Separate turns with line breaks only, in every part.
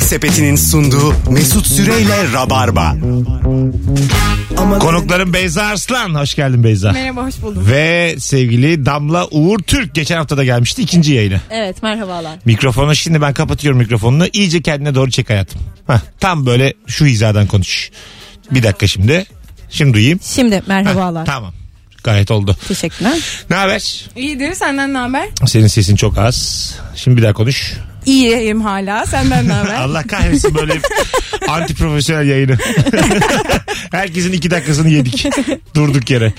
Sepeti'nin sunduğu Mesut Süreyle Rabarba.
Konuklarım Beyza Arslan. Hoş geldin Beyza.
Merhaba hoş buldum.
Ve sevgili Damla Uğur Türk geçen hafta da gelmişti ikinci yayına.
Evet merhabalar.
Mikrofonu şimdi ben kapatıyorum mikrofonunu. İyice kendine doğru çek hayatım. Hah, tam böyle şu hizadan konuş. Bir dakika şimdi. Şimdi duyayım.
Şimdi
Hah,
merhabalar.
tamam. Gayet oldu.
Teşekkler.
Ne haber?
İyidir senden ne haber?
Senin sesin çok az. Şimdi bir daha konuş.
İyiyim hala senden ne haber?
Allah kahretsin böyle anti profesyonel yayını. Herkesin iki dakikasını yedik. Durduk yere.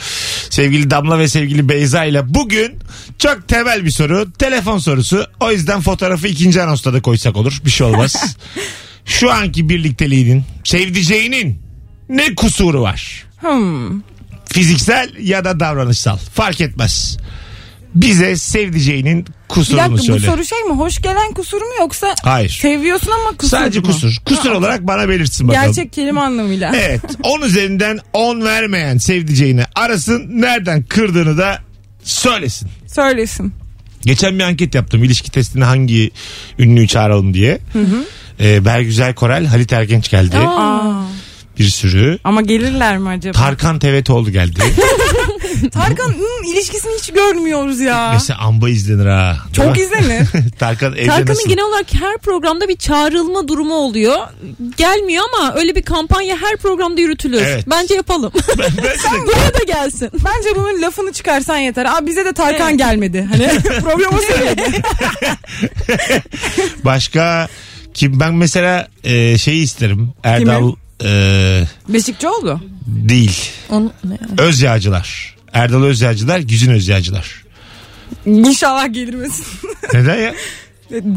Sevgili Damla ve sevgili Beyza ile bugün çok temel bir soru. Telefon sorusu. O yüzden fotoğrafı ikinci anonsta da koysak olur. Bir şey olmaz. Şu anki birlikteliğinin, sevdiceğinin ne kusuru var?
Hmm.
Fiziksel ya da davranışsal. Fark etmez. Bize sevdiceğinin
Bir
kusurunu
dakika bu
söyle.
soru şey mi? Hoş gelen kusur mu yoksa
Hayır.
seviyorsun ama kusur
Sadece
mu?
kusur. Kusur
Ha,
olarak bana belirtsin bakalım.
Gerçek kelime anlamıyla.
Evet. 10 üzerinden 10 vermeyen sevdiceğini arasın. Nereden kırdığını da söylesin.
Söylesin.
Geçen bir anket yaptım. İlişki testine hangi ünlüyü çağıralım diye. Ee, Bergüzel Korel, Halit Ergenç geldi.
Aa.
Bir sürü.
Ama gelirler mi acaba?
Tarkan Tevetoğlu geldi.
Tarkan hmm, ilişkisini hiç görmüyoruz ya.
Mesela amba izlenir ha. Değil
Çok
mi?
izlenir.
Tarkan evde
Tarkan'ın
nasıl?
genel olarak her programda bir çağrılma durumu oluyor. Gelmiyor ama öyle bir kampanya her programda yürütülür.
Evet.
Bence yapalım.
Ben, ben de-
Buraya da gelsin.
Bence bunun lafını çıkarsan yeter. Abi bize de Tarkan gelmedi. Hani programı söyledi.
Başka kim? Ben mesela e, şeyi isterim. Erdal e,
Beşikçioğlu.
değil.
Onu, ne?
Özyağcılar. Erdal Özyağcılar, Güzin Özyağcılar.
İnşallah gelirmesin.
Neden ya?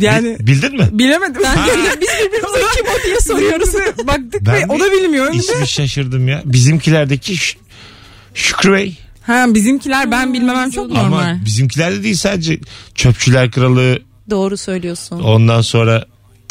Yani
Bi- Bildin mi?
bilemedim.
Biz birbirimize kim o diye soruyoruz.
Birbirimize baktık
Ben
ve o da bilmiyor.
İsmi şaşırdım ya. Bizimkilerdeki Ş- Şükrü Bey.
Ha bizimkiler
Hmm,
ben bilmemem çok normal.
Ama bizimkilerde değil sadece Çöpçüler Kralı
Doğru söylüyorsun.
ondan sonra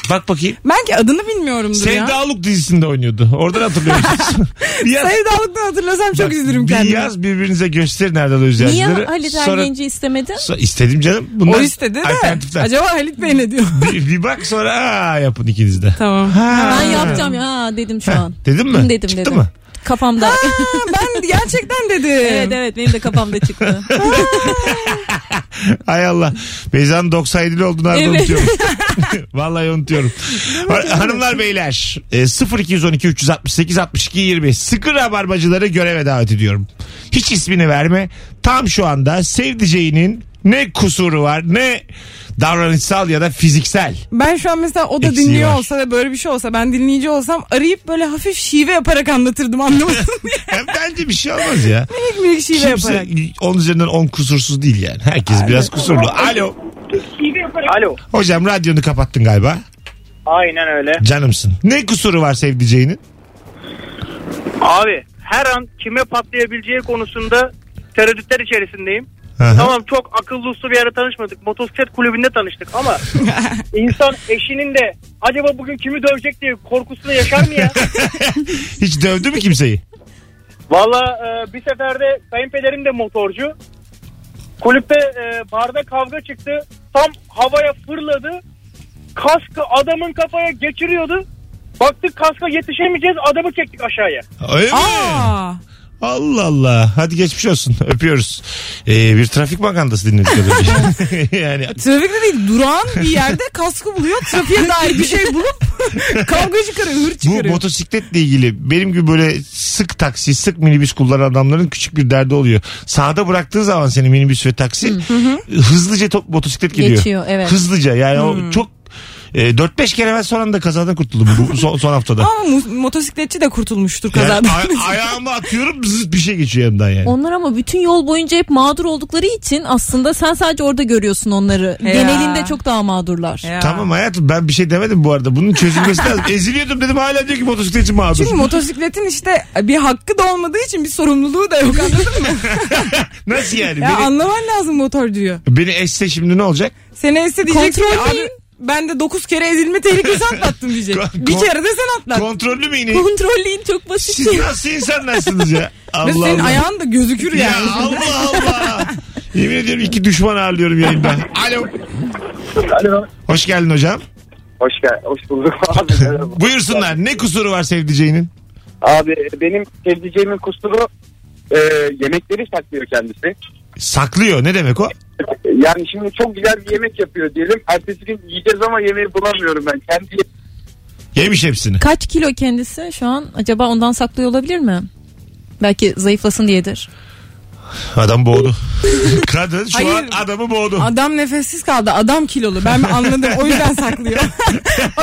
Bak bakayım.
Belki adını bilmiyorumdur ya.
Sevdalık dizisinde oynuyordu. Oradan hatırlıyor musunuz? bir yaz,
Sevdalıktan hatırlasam çok
bak,
üzülürüm
bir
kendimi.
yaz birbirinize gösterin Erdal
Niye
Özyağcıları.
Halit
Sonra-
Ergenci istemedin?
so- istedim canım. Bunlar
O istedi de.
alternatifler.
Acaba Halit Bey ne diyor?
bir, bir bak sonra aa yapın ikiniz de.
tamam.
Ha.
Ben yapacağım ya ha, dedim şu
Heh,
an.
Dedim mi?
Dedim,
Çıktı
dedim.
mı?
Kafamda.
Ha, ben gerçekten dedim.
evet evet benim de kafamda çıktı.
Hay Allah. Beyza'nın 97'li olduğunu arada
Evet.
unutuyorum. Vallahi unutuyorum. Ha- Hanımlar beyler e, 0212 368 62 20 sıkı rabarbacıları göreve davet ediyorum. Hiç ismini verme. Tam şu anda sevdiceğinin ne kusuru var ne davranışsal ya da fiziksel.
Ben şu an mesela o da
Eksiği
dinliyor
var.
olsa ve böyle bir şey olsa ben dinleyici olsam arayıp böyle hafif şive yaparak anlatırdım anlamadın mı?
Hem bence bir şey olmaz ya.
Minik minik şive
Kimse
yaparak.
10 üzerinden 10 kusursuz değil yani. Herkes biraz kusurlu. Alo.
Alo.
Hocam radyonu kapattın galiba.
Aynen öyle.
Canımsın. Ne kusuru var sevdiceğinin?
Abi her an kime patlayabileceği konusunda tereddütler içerisindeyim.
Aha.
Tamam çok akıllı uslu bir yere tanışmadık. Motosiklet kulübünde tanıştık ama insan eşinin de acaba bugün kimi dövecek diye korkusunu yaşar mı ya?
Hiç dövdü mü kimseyi?
Valla e, bir seferde kayınpederim de motorcu. Kulüpte e, barda kavga çıktı. Tam havaya fırladı. Kaskı adamın kafaya geçiriyordu. Baktık kaska yetişemeyeceğiz adamı çektik aşağıya.
Öyle mi?
Aa,
Allah Allah. Hadi geçmiş olsun. Öpüyoruz. Ee, bir trafik magandası dinledik. az önce. yani
trafikte değil durağan bir yerde kaskı buluyor trafiğe dair bir şey bulup kavga çıkarıyor hır
bu
çıkarıyor.
motosikletle ilgili benim gibi böyle sık taksi, sık minibüs kullanan adamların küçük bir derdi oluyor. Sağda bıraktığı zaman seni minibüs ve taksi hızlıca top, motosiklet geliyor.
Geçiyor, evet.
Hızlıca yani o çok e, 4-5 kere ben son anda kazadan kurtuldum bu son, son haftada.
Ama mu- motosikletçi de kurtulmuştur
Yani
kazadan.
a- ayağımı atıyorum zıt bir şey geçiyor yanımdan yani.
Onlar ama bütün yol boyunca hep mağdur oldukları için aslında sen sadece orada görüyorsun onları.
Ya.
Genelinde çok daha mağdurlar.
Ya.
Tamam hayatım ben bir şey demedim bu arada. Bunun çözülmesi lazım. Eziliyordum dedim hala diyor ki motosiklet için mağdur.
Çünkü motosikletin işte bir hakkı da olmadığı için bir sorumluluğu da yok anladın mı?
Nasıl yani?
ya
beni,
anlaman lazım motorcuyu.
beni eşse şimdi ne olacak?
Seni esse diyecek ki
Kontrol
abi
değil.
ben de 9 kere ezilme tehlikesi atlattım diyecek.
Kon-
bir
kon-
kere de sen atlat.
Kontrollü mü yine?
Kontrolleyin çok basit.
Siz nasıl insanlarsınız ya?
Ve
Allah
senin
Allah.
ayağın da gözükür
Ya
yani.
Allah Allah. Yemin ediyorum iki düşman ağırlıyorum yayında. Alo.
Alo.
Hoş geldin hocam.
Hoş gel, hoş bulduk abi. merhaba.
Buyursunlar. Ne kusuru var sevdiceğinin?
Abi benim sevdiceğimin kusuru e, yemekleri saklıyor kendisi.
Saklıyor. Ne demek o?
Yani şimdi çok güzel bir yemek yapıyor diyelim. Ertesi gün yiyeceğiz ama yemeği bulamıyorum ben. Kendi
Yemiş hepsini.
Kaç kilo kendisi şu an? Acaba ondan saklıyor olabilir mi? Belki zayıflasın diyedir.
Adam boğdu. Kadın şu
Hayır.
an adamı boğdu.
Adam nefessiz kaldı. Adam kilolu. Ben anladım. O yüzden saklıyor.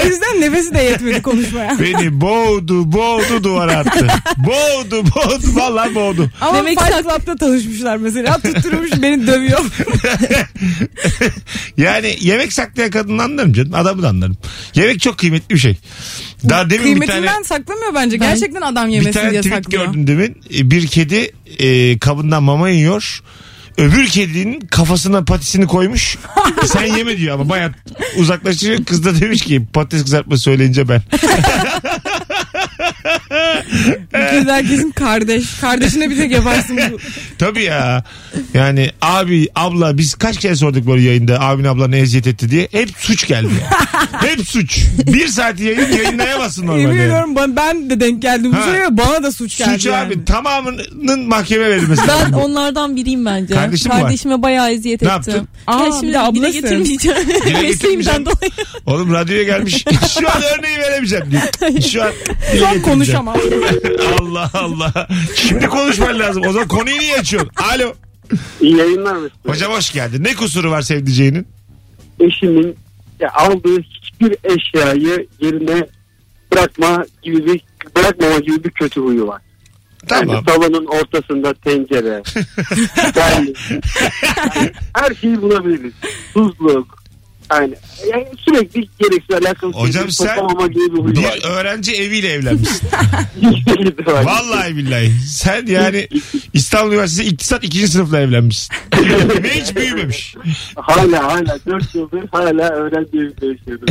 o yüzden nefesi de yetmedi konuşmaya.
Beni boğdu boğdu duvara attı. boğdu boğdu vallahi boğdu.
Ama
Demek
Fight
sak-
Club'da tanışmışlar mesela. Tutturmuş beni dövüyor.
Yani yemek saklayan kadını anlarım canım. Adamı da anlarım. Yemek çok kıymetli bir şey. Daha demin bir
Kıymetinden
tane
saklamıyor bence.
Ben-
Gerçekten adam
bir
yemesin
tane
diye
tweet
saklıyor.
gördüm demin. E, Bir kedi e, kabından mama yiyor. Öbür kedinin kafasına patisini koymuş. Sen yeme diyor ama baya uzaklaşıyor. Kız da demiş ki patates kızartma söyleyince ben.
Kız herkesin kardeş. Kardeşine bir tek yaparsın bu.
Tabii ya. Yani abi abla biz kaç kere sorduk böyle yayında abin abla ne eziyet etti diye. Hep suç geldi. Hep suç. Bir saati yayın yayınlayamazsın
Yemin
normalde. yani.
ediyorum ben, ben de denk geldim. Bu
Ha.
soruya bana da suç geldi
Suç
yani.
abi tamamının mahkeme verilmesi.
Ben onlardan biriyim bence.
Kardeşim mi var?
Kardeşime bayağı eziyet
Ne
ettim.
yaptın?
Aa,
Ya
bir
şimdi
de
dile
ablasın.
getirmeyeceğim.
getirmeyeceğim.
Mesleğimden dolayı.
Oğlum radyoya gelmiş. Şu an örneği veremeyeceğim. Şu an dile
Şu an
getireceğim.
konuşamam.
Allah Allah. Şimdi konuşman lazım. O zaman konuyu niye açıyorsun? Alo.
İyi yayınlar mısın?
Hocam hoş geldin. Ne kusuru var sevdiceğinin?
Eşimin ya, aldığı hiçbir eşyayı yerine bırakma gibi bir bırakmama gibi bir kötü huyu var.
Tamam.
Yani tavanın ortasında tencere. yani, yani her şeyi bulabiliriz. Tuzluk. Yani, yani sürekli gereksiz alakalı
Hocam
şeyleri
sen
toplamama gibi bir huyu var.
Bir öğrenci eviyle evlenmişsin.
Hiçbiri de var.
Vallahi billahi. Sen yani İstanbul Üniversitesi İktisat 2. sınıfla evlenmişsin. Ve hiç büyümemiş.
Hala hala 4 yıldır hala öğrenci evinde yaşıyorum.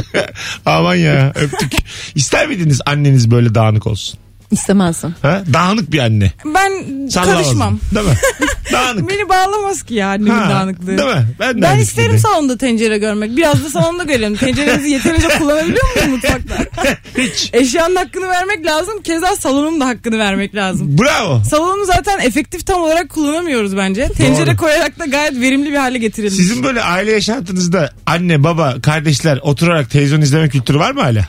Aman ya öptük. İster miydiniz anneniz böyle dağınık olsun?
İstemezdim.
Ha? Dağınık bir anne.
Ben
Sallamazdın.
karışmam.
Değil mi? Dağınık.
Beni bağlamaz ki ya annemin
Ha,
dağınıklığı.
Değil mi? Ben, de
Ben
aynı
isterim
fikirdeyim.
salonda tencere görmek. Biraz da salonda görelim. Tenceremizi yeterince kullanabiliyor muyuz mutfakta?
Hiç.
Eşyanın hakkını vermek lazım. Keza salonun da hakkını vermek lazım.
Bravo.
Salonu zaten efektif tam olarak kullanamıyoruz bence. Tencere
Doğru.
koyarak da gayet verimli bir hale getirilmiş.
Sizin böyle aile yaşantınızda anne, baba, kardeşler oturarak televizyon izleme kültürü var mı hala?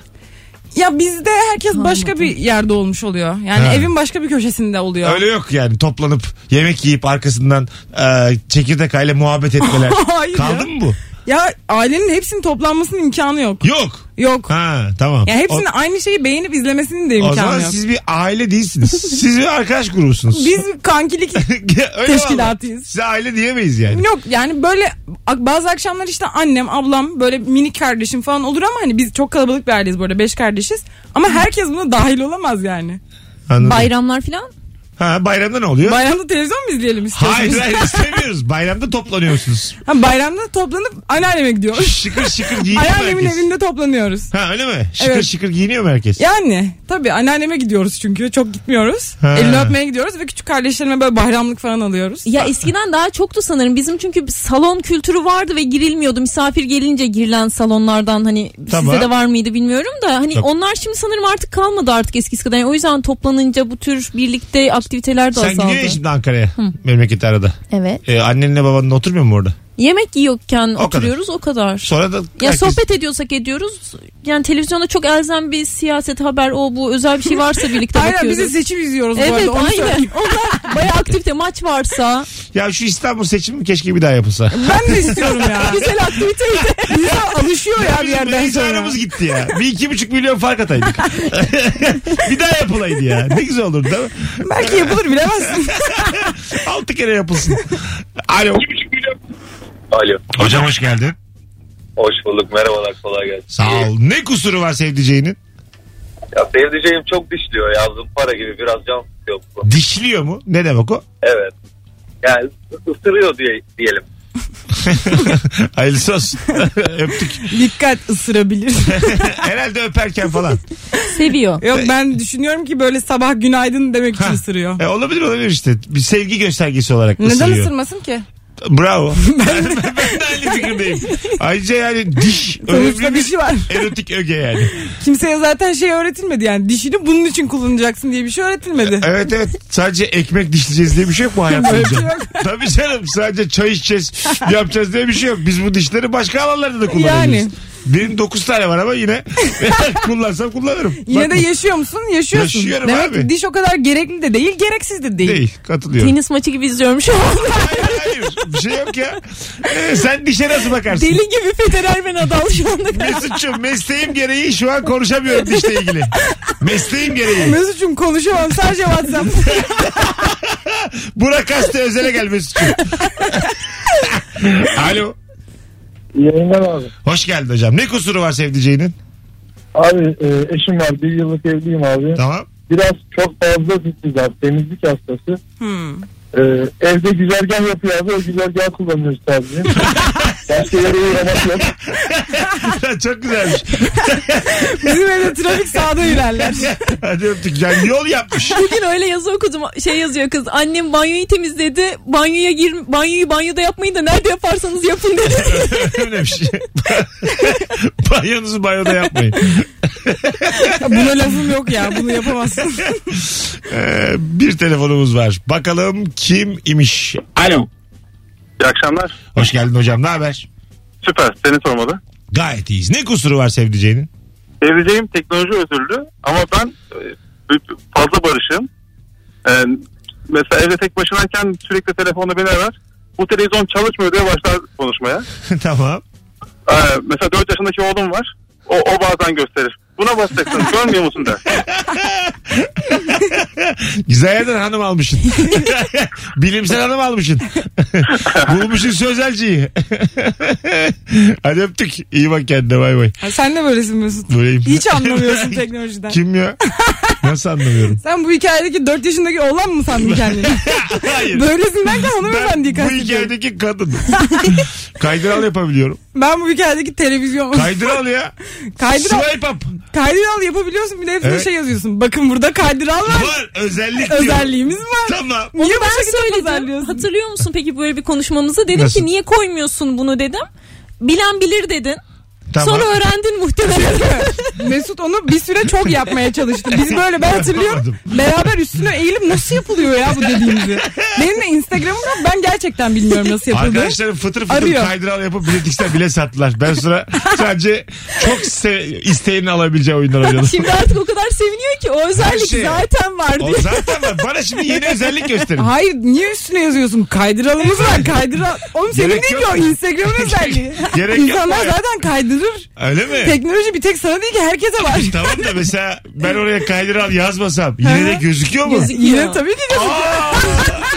Ya bizde herkes başka bir yerde olmuş oluyor. Yani
Ha.
evin başka bir köşesinde oluyor.
Öyle yok yani toplanıp yemek yiyip arkasından e, çekirdek aile muhabbet etmeler.
Hayır
Kaldı
ya.
mı bu?
Ya ailenin hepsinin toplanmasının imkanı yok.
Yok.
Yok.
Ha tamam.
Ya hepsinin
O-
aynı şeyi beğenip izlemesinin de
O zaman
imkanı yok.
siz bir aile değilsiniz. Siz bir arkadaş grubusunuz.
Biz kankilik
Öyle valla.
teşkilatıyız.
Size aile diyemeyiz yani.
Yok yani böyle bazı akşamlar işte annem, ablam, böyle minik kardeşim falan olur ama hani biz çok kalabalık bir aileyiz bu arada. Beş kardeşiz. Ama herkes buna dahil olamaz yani.
Anladım.
Bayramlar falan.
ha, bayramda ne oluyor?
Bayramda televizyon mu izleyelim istiyorsunuz?
hayır hayır istemiyoruz. Bayramda toplanıyorsunuz.
Ha, bayramda toplanıp anneanneme gidiyoruz.
Şıkır şıkır giyiniyor mu
Anneannemin
herkes.
evinde toplanıyoruz.
Ha öyle mi? Şıkır
Evet.
şıkır giyiniyor mu herkes?
Yani tabii anneanneme gidiyoruz çünkü çok gitmiyoruz.
Ha.
Elini öpmeye gidiyoruz ve küçük kardeşlerime böyle bayramlık falan alıyoruz.
Ah.
Ya eskiden daha çoktu sanırım. Bizim çünkü bir salon kültürü vardı ve girilmiyordu. Misafir gelince girilen salonlardan hani
Tamam.
size de var mıydı bilmiyorum da hani
Tabii.
onlar şimdi sanırım artık kalmadı artık eskisi kadar. Yani o yüzden toplanınca bu tür birlikte aktiviteler
Sen
de azaldı.
gidiyorsun ya şimdi Ankara'ya. Memleketi arada.
Evet.
Ee, annenle babanla oturmuyor mu orada?
Yemek yiyorken
kadar.
oturuyoruz o kadar.
Sonra da
ya
herkes-
sohbet ediyorsak ediyoruz. Yani televizyonda çok elzem bir siyaset haber o bu özel bir şey varsa birlikte
Aynen
bakıyoruz.
bizi seçim izliyoruz bu
Evet
arada. onu
aynen.
söyleyeyim.
Onlar bayağı aktifte maç varsa
Ya şu İstanbul seçimi keşke bir daha yapılsa.
Ben de istiyorum ya.
güzel aktiviteydi.
İnsan alışıyor ya bir
Bizim
yerden
neyse
sonra.
aramız gitti ya. Bir iki buçuk milyon fark ataydık. bir daha yapılaydı ya. Ne güzel olurdu değil mi?
Belki yapılır bilemezsin.
Altı kere yapılsın. Alo.
Alo.
Hocam hoş geldin.
Hoş bulduk. Merhabalar. Kolay gelsin.
Sağ ol. Ne kusuru var sevdiceğinin?
Ya sevdiceğim çok dişliyor. Yazdım para gibi. Biraz can sıkıyor. bu.
Dişliyor mu? Ne demek o?
Evet. Yani ısırıyor diye, diyelim.
Hayırlısı olsun. Öptük.
Dikkat ısırabilir.
Herhalde öperken falan.
Seviyor.
Yok ben düşünüyorum ki böyle sabah günaydın demek için
Ha.
ısırıyor.
E, olabilir olabilir işte. Bir sevgi göstergesi olarak
Neden
ısırıyor.
ısırmasın ki?
Bravo. ben, de, ben de aynı fikirdeyim. Ayrıca yani diş önemli
Sonuçta
bir
dişi var.
erotik öge yani.
Kimseye zaten şey öğretilmedi yani dişini bunun için kullanacaksın diye bir şey öğretilmedi.
Evet evet sadece ekmek dişleyeceğiz diye bir şey yok bu hayatta.
Böyle bir şey yok.
Tabii canım sadece çay içeceğiz yapacağız diye bir şey yok. Biz bu dişleri başka alanlarda da kullanabiliriz.
Yani.
Benim 9 tane var ama yine kullansam kullanırım.
Yine de
Bak-
yaşıyor musun? Yaşıyorsun.
Yaşıyorum
Demek
abi.
ki diş o kadar gerekli de değil, gereksiz de değil.
değil katılıyorum.
Tenis maçı gibi izliyorum şu an.
hayır hayır bir şey yok ya. Ee, sen dişe nasıl bakarsın?
Deli gibi Federer ve Nadal şu anda.
Mesut'cum mesleğim gereği şu an konuşamıyorum dişle ilgili. Mesleğim gereği.
Mesut'cum konuşamam sadece WhatsApp.
Burak Hasta özele gel Mesut'cum. Alo.
Yayınlar abi.
Hoş geldin hocam. Ne kusuru var sevdiceğinin?
Abi e, eşim var. Bir yıllık evliyim abi.
Tamam.
Biraz çok fazla titiz abi. Temizlik hastası.
Hmm.
E, evde güzergah yapıyor abi. O güzergahı kullanıyoruz sadece. Başka yere uğramak yok.
Çok güzelmiş.
Bizim evde trafik sağda ilerler.
Hadi öptük. Yani yol yapmış.
Bugün öyle yazı okudum. Şey yazıyor kız. Annem banyoyu temizledi. Banyoya gir, banyoyu banyoda yapmayın da nerede yaparsanız yapın dedi.
Öyle bir şey. Banyonuzu banyoda yapmayın.
Buna lafım yok ya bunu yapamazsın.
Ee, bir telefonumuz var. Bakalım kim imiş? Alo.
İyi akşamlar.
Hoş geldin hocam. Ne haber?
Süper. Seni sormalı.
Gayet iyiyiz. Ne kusuru var sevdiceğinin?
Sevdiceğim teknoloji özürlü ama ben e, fazla barışım. E, mesela evde tek başınayken sürekli telefonla beni arar. Bu televizyon çalışmıyor diye başlar konuşmaya.
tamam.
E, mesela 4 yaşındaki oğlum var. O, o bazen gösterir. Buna basacaksın görmüyor musun der.
Güzel yerden hanım almışsın. Bilimsel hanım almışsın. Bulmuşsun sözelciyi. Hadi öptük. İyi bak kendine bay bay.
Ha, Sen de böylesin Mesut.
Böyleyim.
Hiç anlamıyorsun teknolojiden.
Kim ya? Nasıl anlamıyorum?
Sen bu hikayedeki 4 yaşındaki oğlan mı sandın kendini?
Hayır.
Böylesin derken
Ben
hanımefendiyi
bu
kastediyorum.
hikayedeki kadın. Kaydıral yapabiliyorum.
Ben bu hikayedeki televizyon...
Kaydıral ya.
Kaydıral,
Swipe up.
kaydıral yapabiliyorsun bir de hepsine
Evet.
şey yazıyorsun. Bakın burada kaydıral var.
Var özellik diyor.
Özelliğimiz var.
Tamam.
Niye bu
ben
şekilde
söyledim.
şey pazarlıyorsun?
Hatırlıyor musun peki böyle bir konuşmamızı? Dedim
Nasıl?
ki niye koymuyorsun bunu dedim. Bilen bilir dedin.
Tamam.
Sonra öğrendin muhtemelen.
Mesut onu bir süre çok yapmaya çalıştı. Biz böyle ben hatırlıyorum. Beraber üstüne eğilip nasıl yapılıyor ya bu dediğimizi. Benim de Instagram'ım yok. Ben gerçekten bilmiyorum nasıl yapıldığını.
Arkadaşlarım fıtır fıtır
Arıyor.
kaydıral yapıp biletikler bile sattılar. Ben sonra sadece çok se- isteğini alabileceği oyunlar oynadım.
Şimdi artık o kadar seviniyor ki o özellik
şey-
zaten var
O
diye.
zaten var. Bana şimdi yeni özellik gösterin.
Hayır niye üstüne yazıyorsun? Kaydıralımız var. Kaydıral. Oğlum senin
Gerek
değil
yok.
ki o Instagram'ın özelliği.
Gerek yok
İnsanlar
baya.
zaten kaydırır.
Öyle mi?
Teknoloji bir tek sana değil ki herkese var.
tamam da mesela ben oraya kaydıral yazmasam yine de gözüküyor mu?
Gözük-
Yine tabii ki gözüküyor.
Aa!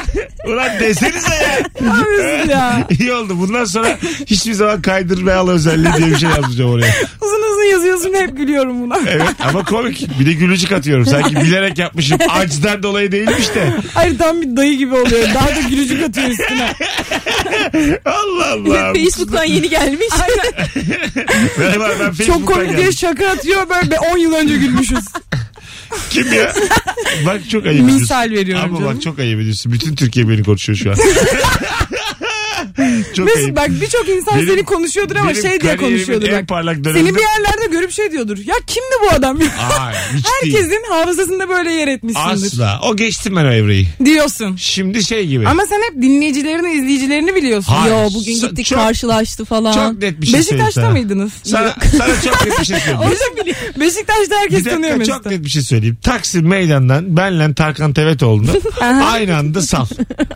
Ulan desenize ya.
Mesut ya.
İyi oldu. Bundan sonra hiçbir zaman kaydırmayalı özelliği diye bir şey yazmayacağım oraya.
Uzun uzun yazıyorsun hep gülüyorum buna.
Evet ama komik. Bir de gülücük atıyorum. Sanki bilerek yapmışım. Acıdan dolayı değilmiş de.
Hayır tam bir dayı gibi oluyor. Daha da gülücük atıyor üstüne.
Allah Allah.
şey-
Facebook'tan yeni gelmiş.
Merhaba ben Facebook'tan
Çok komik diye
geldim.
şaka atıyor. Böyle bir 10 yıl önce gülmüşüz.
Kim ya? Bak çok ayıp ediyorsun.
Misal veriyorum
Ama
canım.
bak çok ayıp ediyorsun. Bütün Türkiye beni konuşuyor şu an. çok
Mesut
ayıp.
bak birçok insan
Benim-
seni konuşuyordur ama
benim
şey diye
kariyerimin
konuşuyordur
en
bak.
parlak döneminde...
Seni bir yerlerde görüp şey diyordur. Ya kimdi bu adam ya?
Aa, hiç değil.
Herkesin hafızasında böyle yer etmişsindir.
Asla. O geçtim ben o evreyi.
Diyorsun.
Şimdi şey gibi.
Ama sen hep dinleyicilerini, izleyicilerini biliyorsun.
Hayır.
Yo bugün
Sa-
gittik
çok-
karşılaştı falan.
çok net bir şey söyleyeyim
Beşiktaş'ta
sana.
mıydınız?
Sana, sana çok net bir şey söyleyeyim.
Beşik- Beşiktaş'ta herkes
Bir
tanıyor
dakika
Mesut'u.
çok net bir şey söyleyeyim. Taksim meydandan benle Tarkan Tevetoğlu'nu
Aha.
aynı anda sal.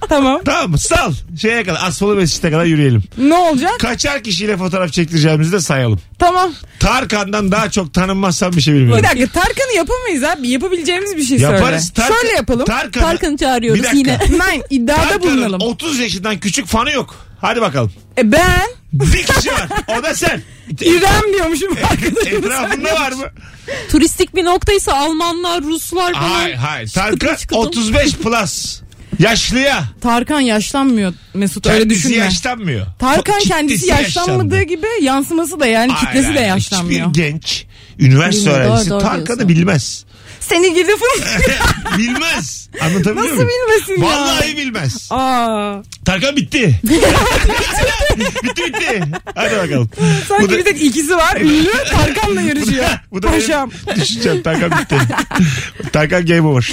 Tamam.
Tamam mı? Sal. Şeye kadar Asfalı Mescid'e kadar yürüyelim.
Ne olacak?
Kaçar kişiyle fotoğraf çektireceğimizi de sayalım.
Tamam.
Tarkan'dan daha çok tanınmazsan bir şey bilmiyorum.
Bir dakika Tarkan'ı yapamayız abi. Yapabileceğimiz bir şey
Yaparız.
söyle. Şöyle yapalım.
Tarkan'ı-
Tarkan'ı çağırıyoruz
Bir dakika.
yine.
Nein iddiada
Tarkan'ın
bulunalım.
30 yaşından küçük fanı yok. Hadi bakalım.
E ben
Bir kişi var. O da sen.
İrem diyormuşum arkadaşım.
Etrafında var mı?
Turistik bir noktaysa Almanlar, Ruslar falan.
Hayır hayır. Tarkan
çıkıtım.
35 plus. Yaşlıya.
Tarkan yaşlanmıyor Mesut öyle
Kendisi
düşünme.
yaşlanmıyor.
Tarkan
Kitlesi
kendisi yaşlanmadığı
yaşlandı.
gibi yansıması da yani kitlesi
Hayır,
de
hayır.
yaşlanmıyor.
Hiçbir genç üniversite
Bilmiyor, doğru,
öğrencisi
doğru
Tarkan'ı
diyorsun.
bilmez.
seni gidi fın.
bilmez. Anlatabiliyor
Nasıl
muyum?
bilmesin ya?
Vallahi bilmez.
Aa.
Tarkan bitti. bitti bitti. Hadi bakalım.
Sanki
Bu da-
bir tek ikisi var. Ünlü Tarkan'la yarışıyor.
Bu da
Paşam.
benim düşüncem. Tarkan bitti. Tarkan game over.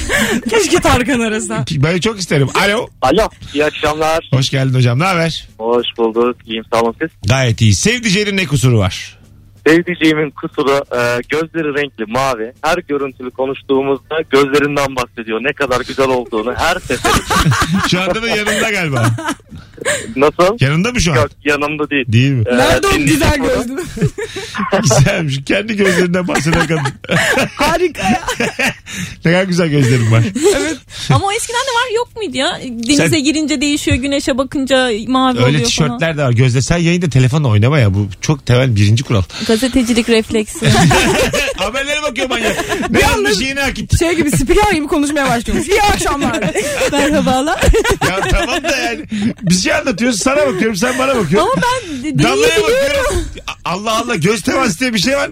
Keşke Tarkan arasa.
Ben çok isterim. Alo.
Alo iyi akşamlar.
Hoş geldin hocam. Ne haber?
Hoş bulduk. İyiyim sağ olun siz.
Gayet iyi. Sevdiceğinin ne kusuru var?
Sevdiceğimin kusuru e, gözleri renkli mavi. Her görüntülü konuştuğumuzda gözlerinden bahsediyor. Ne kadar güzel olduğunu her seferinde.
Şu anda da yanında galiba.
Nasıl?
Yanında mı şu an?
Yok yanımda değil.
Değil mi?
E,
Nerede o
dinleyici
güzel
soru.
gözlü?
Güzelmiş. Kendi gözlerinden bahseden kadın.
Harika ya.
ne kadar güzel gözlerim var.
Evet.
Ama o eskiden de var yok muydu ya? Denize
Sen-
girince değişiyor, güneşe bakınca mavi
Öyle
oluyor falan.
tişörtler de var. Gözde sen yayında telefonla oynama ya. Bu çok temel birinci kural.
Gazetecilik refleksi.
Haberlere bakıyor manyak. Ne yazmış yeni akit.
Şey gibi spiker gibi konuşmaya başlıyormuş. İyi akşamlar.
Merhabalar.
Ya tamam da yani. Bir şey anlatıyorsun sana bakıyorum sen bana
Ama
bakıyorsun.
ben de-
Damlaya
deneyebiliyorum.
bakıyorum. Allah Allah göz teması diye bir şey var.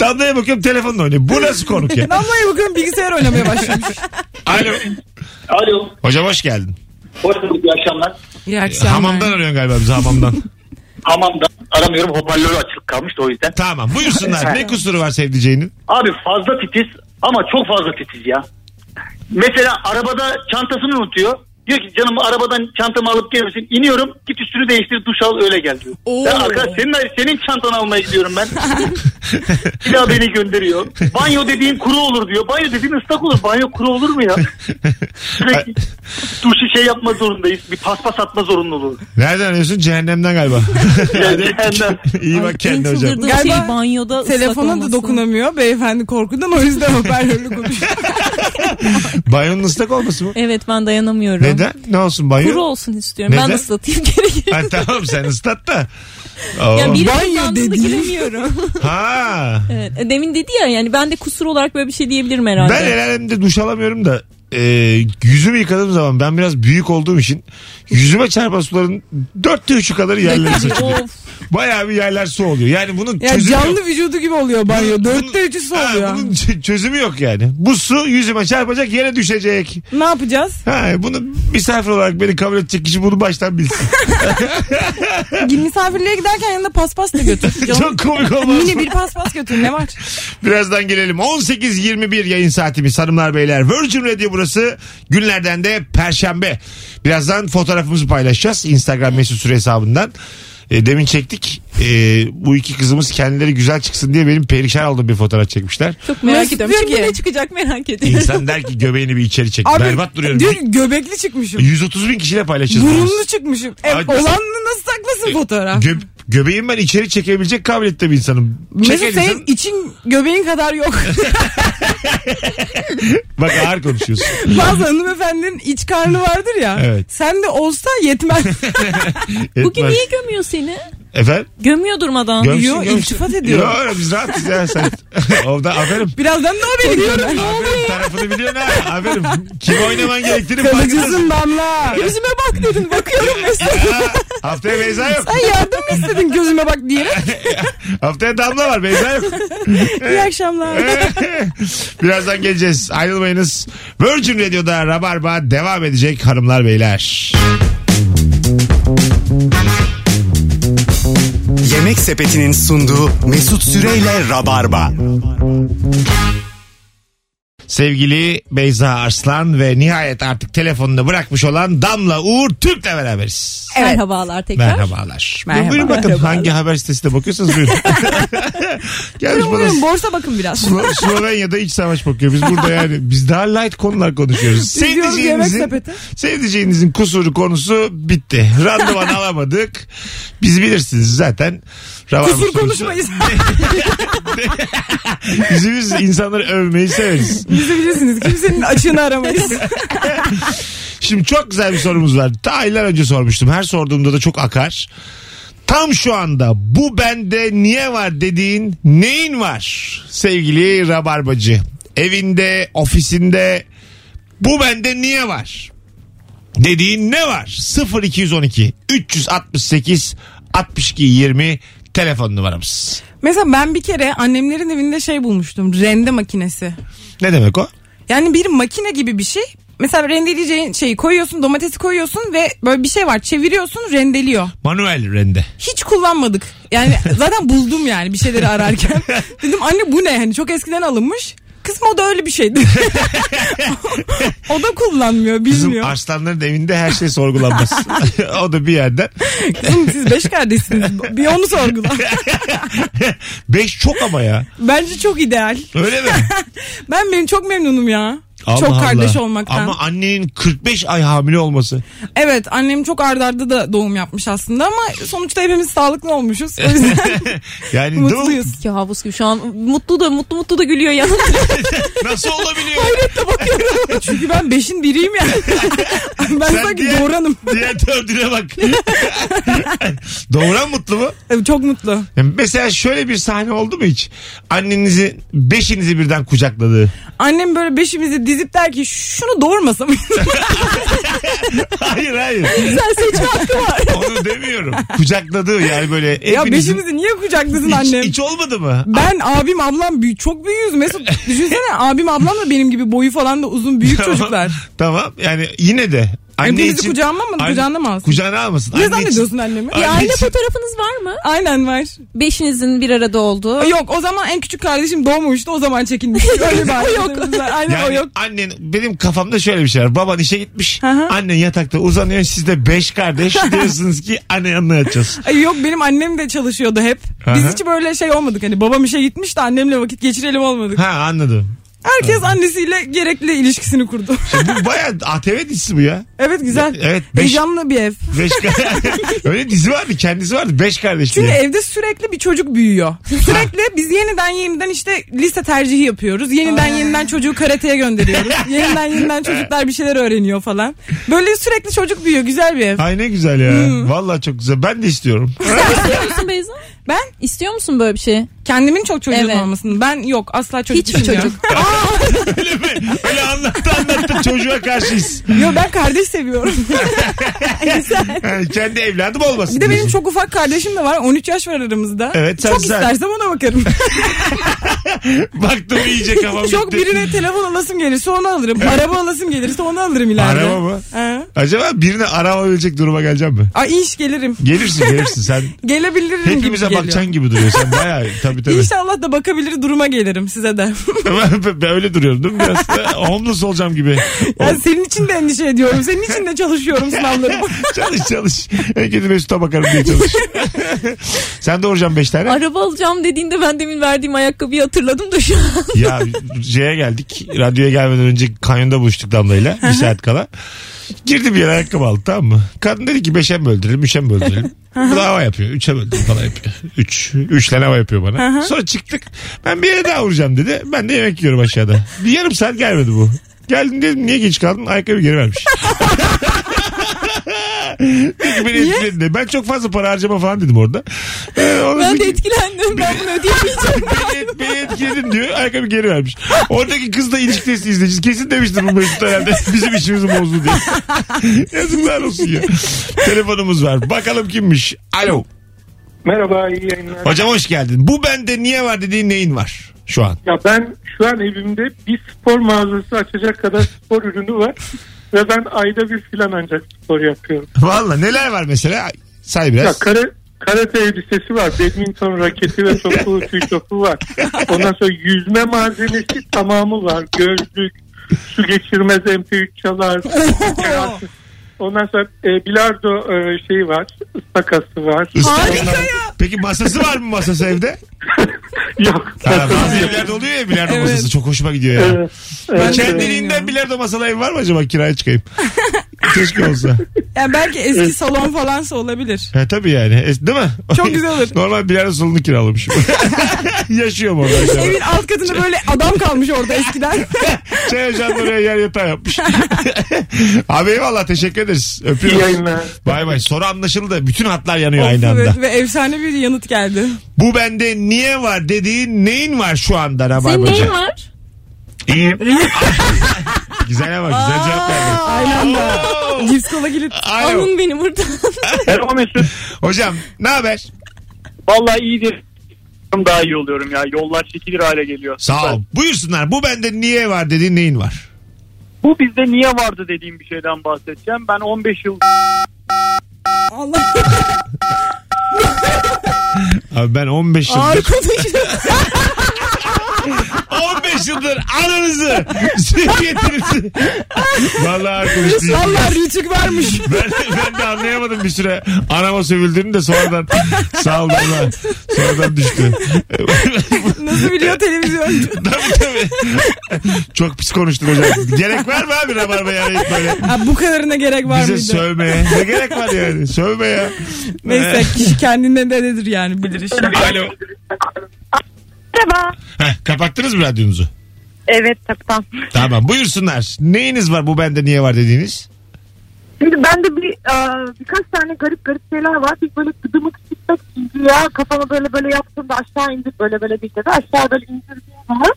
Damlaya bakıyorum telefonla oynuyor. Bu nasıl konuk ya?
Damlaya bakıyorum bilgisayar oynamaya başlamış.
Alo.
Alo.
Hocam hoş geldin.
Hoş bulduk. iyi akşamlar.
İyi akşamlar.
Hamamdan arıyorsun galiba bizi hamamdan.
Hamamda aramıyorum hoparlörü açık kalmıştı o yüzden.
tamam buyursunlar. Ne kusuru var sevdiceğinin?
Abi fazla titiz ama çok fazla titiz ya. Mesela arabada çantasını unutuyor. Diyor ki canım arabadan çantamı alıp gelir misin? İniyorum git üstünü değiştir duş al öyle gel diyor.
Oo.
Ya arkadaş şey- senin, senin çantanı almaya gidiyorum ben. Bir daha beni gönderiyor. Banyo dediğin kuru olur diyor. Banyo dediğin ıslak olur. Banyo kuru olur mu ya? Sürekli duşu şey yapma zorundayız. Bir paspas atma zorunluluğu.
Nereden arıyorsun? Cehennemden galiba.
Cehennem.
İyi bak kendine
En
hocam.
çıldırdığım
Galiba
şey banyoda ıslak
Telefona da
olması.
dokunamıyor beyefendi korkudan o yüzden hoparlörlü konuşuyor.
Banyonun ıslak olması mı?
Evet ben dayanamıyorum.
Neden? Ne olsun banyo?
Kuru olsun istiyorum.
Neden?
Ben ıslatayım gerekirse.
Ha, tamam sen ıslat da. Oo.
Ya biri
Banyo
banyo
dediğin-
giremiyorum.
Ha.
evet. e, Demin dedi ya yani ben de kusur olarak böyle bir şey diyebilirim herhalde.
Ben el alemde duş alamıyorum da e, yüzümü yıkadığım zaman ben biraz büyük olduğum için yüzüme çarpan suların dörtte üçü kadar yerlere saçılıyor.
Of.
Bayağı bir yerler su oluyor. Yani bunun
Yani
çözümü yok.
canlı vücudu gibi oluyor banyo. Dörtte üçü su
Ha,
oluyor.
bunun ç- çözümü yok yani. Bu su yüzüme çarpacak yere düşecek.
Ne yapacağız?
Ha, bunu misafir olarak beni kabul edecek kişi bunu baştan bilsin.
Misafirliğe giderken yanında paspas da götür. Canım.
Çok komik olmaz
Mini
mı?
bir paspas götür ne var?
Birazdan gelelim. 18.21 yayın saatimiz hanımlar beyler. Virgin Radio burası. Günlerden de Perşembe. Birazdan fotoğrafımızı paylaşacağız. Instagram mesut süre hesabından. E, demin çektik. E, bu iki kızımız kendileri güzel çıksın diye benim perişan olduğum bir fotoğraf çekmişler.
Çok merak
Nasıl
ediyorum. Şimdi
diyor ki?
ne çıkacak merak ediyorum.
İnsan der ki göbeğini bir içeri çek. Berbat duruyorum.
Dün göbekli çıkmışım.
130 bin kişiyle paylaşacağız. bunu.
Burunlu çıkmışım. E,
Ay, E,
olanını nasıl saklasın fotoğraf?
Gö- göbeğim ben içeri çekebilecek kabiliyette bir insanım. Çeken
Mesut
insan-
senin için göbeğin kadar yok.
Bak ağır konuşuyorsun.
Bazı hanımefendinin iç karnı vardır ya.
Evet.
Sen de olsa yetmez.
Bugün
Etmez.
niye gömüyor seni?
Efendim?
Gömüyor durmadan.
Gömsün,
Yo,
gömsün.
iltifat ediyor.
Yo, yo, biz rahatız ya sen. Orada aferin.
Birazdan da o beni görür.
Aferin tarafını biliyorsun ha. Aferin. Kim oynaman gerektiğini farkındasın.
Kalıcısın damla.
Gözüme bak dedin bakıyorum mesela.
Ha, Haftaya Beyza yok.
Sen yardım mı istedin gözüme bak diyerek.
Haftaya Damla var Beyza yok.
İyi akşamlar.
Birazdan geleceğiz. Ayrılmayınız. Virgin Radio'da Rabarba devam edecek hanımlar beyler.
Yemek Sepeti'nin sunduğu Mesut Süreyle Rabarba.
Sevgili Beyza Arslan ve nihayet artık telefonunu bırakmış olan Damla Uğur Türk'le beraberiz.
Merhabalar tekrar.
Merhabalar.
Merhaba.
Buyurun bakın hangi haber sitesine bakıyorsanız buyurun. Gelmiş bana
Buyurun borsa bakın biraz.
Slo- Slovenya'da iç savaş bakıyor. Biz burada yani biz daha light konular konuşuyoruz.
diyoruz yemek
Sevdiceğinizin,
sepeti.
sevdiceğinizin kusuru konusu bitti. Randıvan alamadık. Biz bilirsiniz zaten. Rabarba
Kusur
sonuçta-
konuşmayız.
Biz, biz insanları övmeyi severiz.
Bizi bilirsiniz. Kimsenin açığını aramayız.
Şimdi çok güzel bir sorumuz var. Ta aylar önce sormuştum. Her sorduğumda da çok akar. Tam şu anda bu bende niye var dediğin neyin var sevgili Rabarbacı? Evinde, ofisinde bu bende niye var dediğin ne var? 0212 368 62 20 telefon numaramız.
Mesela ben bir kere annemlerin evinde şey bulmuştum. Rende makinesi.
Ne demek o?
Yani bir makine gibi bir şey. Mesela rendeleyeceğin şeyi koyuyorsun, domatesi koyuyorsun ve böyle bir şey var. Çeviriyorsun, rendeliyor.
Manuel rende.
Hiç kullanmadık. Yani zaten buldum yani bir şeyleri ararken. Dedim anne bu ne? Hani çok eskiden alınmış. Kızım o da öyle bir şeydi. o da kullanmıyor,
Bizim
bilmiyor.
arslanların evinde her şey sorgulanmaz. o da bir yerden.
Kızım siz beş kardeşsiniz. Bir onu sorgula.
Beş çok ama ya.
Bence çok ideal.
Öyle mi?
Ben benim çok memnunum ya.
Allah
çok
Allah.
kardeş olmaktan.
Ama annenin 45 ay hamile olması.
Evet annem çok ardarda da doğum yapmış aslında ama sonuçta hepimiz sağlıklı olmuşuz. O yüzden
Yani
mutluyuz.
Ya havuz gibi şu an mutlu da mutlu mutlu da gülüyor yanımda.
dur, nasıl olabiliyor?
E, Çünkü ben beşin biriyim yani. ben
Sen
sanki
diğer-
doğuranım.
Diğer dördüne bak. Doğuran mutlu mu?
Evet, E, Çok mutlu.
Yani Mesela şöyle bir sahne oldu mu hiç? Annenizi, beşinizi birden kucakladığı.
Annem böyle beşimizi dizip der ki şunu doğurmasa mıyız?
Hayır hayır.
Sen seçme hakkı var.
Onu demiyorum. Kucakladığı yani böyle.
ya
hepinizin-
beşimizi niye kucakladın
hiç,
annem?
hiç olmadı mı?
Ben abim ablam büyük çok büyüğüz Mesut. Düşünsene abim ablam da benim gibi boyu falan da uzun büyük çocuklar.
tamam yani yine de.
Hepimizi kucağına mı-
Anne-
kucağına mı alsın?
Kucağına almasın.
Ne
Anne için-
zannediyorsun annemi?
Anne
Bir aile
için-
fotoğrafınız var mı?
Aynen var.
Beşinizin bir arada olduğu.
Yok o zaman en küçük kardeşim doğmamıştı o zaman çekinmiş. Öyle bir yok. Aynen o
Yani
yok.
annen benim kafamda şöyle bir şey var. Baban işe gitmiş.
Aha.
Annen yatakta uzanıyor. Siz de beş kardeş diyorsunuz ki anne yanına yatacağız.
Ay yok benim annem de çalışıyordu hep. Biz
Aha.
hiç böyle şey olmadık hani babam işe gitmiş de annemle vakit geçirelim olmadık.
Ha anladım.
Herkes annesiyle gerekli ilişkisini kurdu.
Bu baya ATV dizisi bu ya.
evet güzel.
Şey- Evet, beş-
Heyecanlı bir ev.
Beş kar- Öyle dizi vardı kendisi vardı. Beş kardeş
Çünkü
diye.
evde sürekli bir çocuk büyüyor. Sürekli biz yeniden yeniden işte lise tercihi yapıyoruz. Yeniden yeniden çocuğu karateye gönderiyoruz. yeniden yeniden çocuklar bir şeyler öğreniyor falan. Böyle sürekli çocuk büyüyor. Güzel bir ev.
Ay ne güzel ya.
Hmm.
Vallahi çok güzel. Ben de istiyorum.
İstiyor musun Beyza?
Ben
İstiyor musun böyle bir şey?
kendimin çok çocuğun
Evet.
olmasını. Ben yok asla çocuk
Hiçbir
istemiyorum.
çocuk.
Öyle mi? Öyle anlattı anlattı çocuğa karşıyız.
Yok ben kardeş seviyorum.
Yani kendi evladım olmasın.
Bir de benim
diyorsun.
çok ufak kardeşim de var. 13 yaş var aramızda.
Evet, sen-
çok
sen-
istersem ona bakarım.
Baktım iyice kafam
çok
gitti.
birine telefon alasım gelirse onu alırım. Araba alasım gelirse onu alırım ileride.
Araba mı?
Ha.
Acaba birine araba verecek duruma geleceğim mi?
Ay iş gelirim.
Gelirsin gelirsin sen.
Gelebilirim gibi
Hepimize
geliyor.
bakacaksın gibi duruyorsun. Sen bayağı tabii tabii.
İnşallah da bakabilir duruma gelirim size de.
ben öyle duruyorum değil mi biraz? Homeless olacağım gibi.
Yani senin için de endişe ediyorum. Senin için de çalışıyorum sınavlarımı.
çalış çalış. En kötü Mesut'a bakarım diye çalış. Sen doğuracaksın 5 tane.
Araba alacağım dediğinde ben demin verdiğim ayakkabıyı hatırladım da şu an.
ya şeye geldik. Radyoya gelmeden önce kanyonda buluştuk Damla'yla. Bir saat kala. Girdi bir yere ayakkabı aldı tamam mı? Kadın dedi ki beşe mi böldürelim, üçe mi böldürelim? Bu da hava yapıyor. Üçe böldürelim falan yapıyor. Üç. Üç tane hava yapıyor bana. Sonra çıktık. Ben bir yere daha vuracağım dedi. Ben de yemek yiyorum aşağıda. Bir yarım saat gelmedi bu. Geldim dedim niye geç kaldın? Ayakkabı geri vermiş. Peki beni etkiledi de. Ben çok fazla para harcama falan dedim orada. Ee, ondan
Ben
sonra-
de etkilendim. Ben bunu ödeyemeyeceğim.
beni, beni etkiledin diyor. Ayakkabı geri vermiş. Oradaki kız da ilişkidesi izleyeceğiz. Kesin demiştir bu Mesut herhalde. Bizim işimizi bozdu diye. Yazıklar olsun ya. Telefonumuz var. Bakalım kimmiş. Alo.
Merhaba iyi yayınlar.
Hocam hoş geldin. Bu bende niye var dediğin neyin var şu an?
Ya ben şu an evimde bir spor mağazası açacak kadar spor ürünü var. Ve ben ayda bir filan ancak spor yapıyorum.
Valla neler var mesela? Say biraz.
Ya kare, karate elbisesi var. Badminton raketi ve topu, tüy topu var. Ondan sonra yüzme malzemesi tamamı var. Gözlük, su geçirmez MP3 çalar. Ondan sonra e, bilardo e, şeyi var. Istakası var.
Harika ya. Peki masası var mı masası evde?
Yok. E,
Ha, bazı evlerde oluyor ya bilardo
Evet.
masası. Çok hoşuma gidiyor ya.
Evet, evet.
şey Kendiliğinden bilardo masalı ev var mı acaba kiraya çıkayım? Keşke olsa.
Yani belki eski salon falansa olabilir.
Ha, tabii yani. E, değil mi?
Çok güzel olur.
Normal bilardo salonu kiralamışım. Yaşıyorum orada. acaba.
Evin alt katında böyle adam kalmış orada eskiden.
Çay ocağında oraya yer yatağı yapmış. Abi eyvallah teşekkür ederiz.
İyi
Öpüyorum.
yayınlar.
Bay bay. Soru anlaşıldı. Bütün hatlar yanıyor
Of,
aynı anda.
evet, ve efsane bir yanıt geldi.
Bu bende niye var dediğin neyin var şu anda
Senin
Rabarbacı?
neyin var?
İyiyim. güzel ama güzel cevap verdin.
Aynı anda.
Oo.
Cips kola kilit.
Alo.
Alın beni buradan.
Merhaba Mesut.
Hocam ne haber?
Vallahi iyidir. Daha iyi oluyorum ya. Yollar çekilir hale geliyor.
Sağ ol. Buyursunlar. Bu bende niye var dediğin neyin var?
Bu bizde niye vardı dediğim bir şeyden bahsedeceğim. Ben 15 yıl
Allah
Abi ben 15
Ağır
yıldır
konuşuyor.
15 yıldır ananızı sevgiyetinizi Vallahi ağır konuştum.
Allah rütük varmış.
Ben, ben de anlayamadım bir süre. Anama sövüldüğünü de sonradan sağ ol valla. Sonradan düştü.
Nasıl biliyor televizyoncu?
tabii tabii. Çok pis konuştun hocam. Gerek var mı abi Rabarba'yı arayıp böyle?
Ha, bu kadarına gerek var
Bize
mıydı?
sövmeye. Ne gerek var yani? Sövme ya.
Neyse kişi kendinden de nedir yani bilir işte.
Alo.
Merhaba.
Heh, kapattınız mı radyonuzu?
Evet tamam.
Tamam buyursunlar. Neyiniz var bu bende niye var dediğiniz?
Şimdi bende bir e, birkaç tane garip garip şeyler var. Biz böyle gıdımı küçültmek için güya kafamı böyle böyle yaptığımda aşağı indir böyle böyle bir de aşağı böyle indirdiğim zaman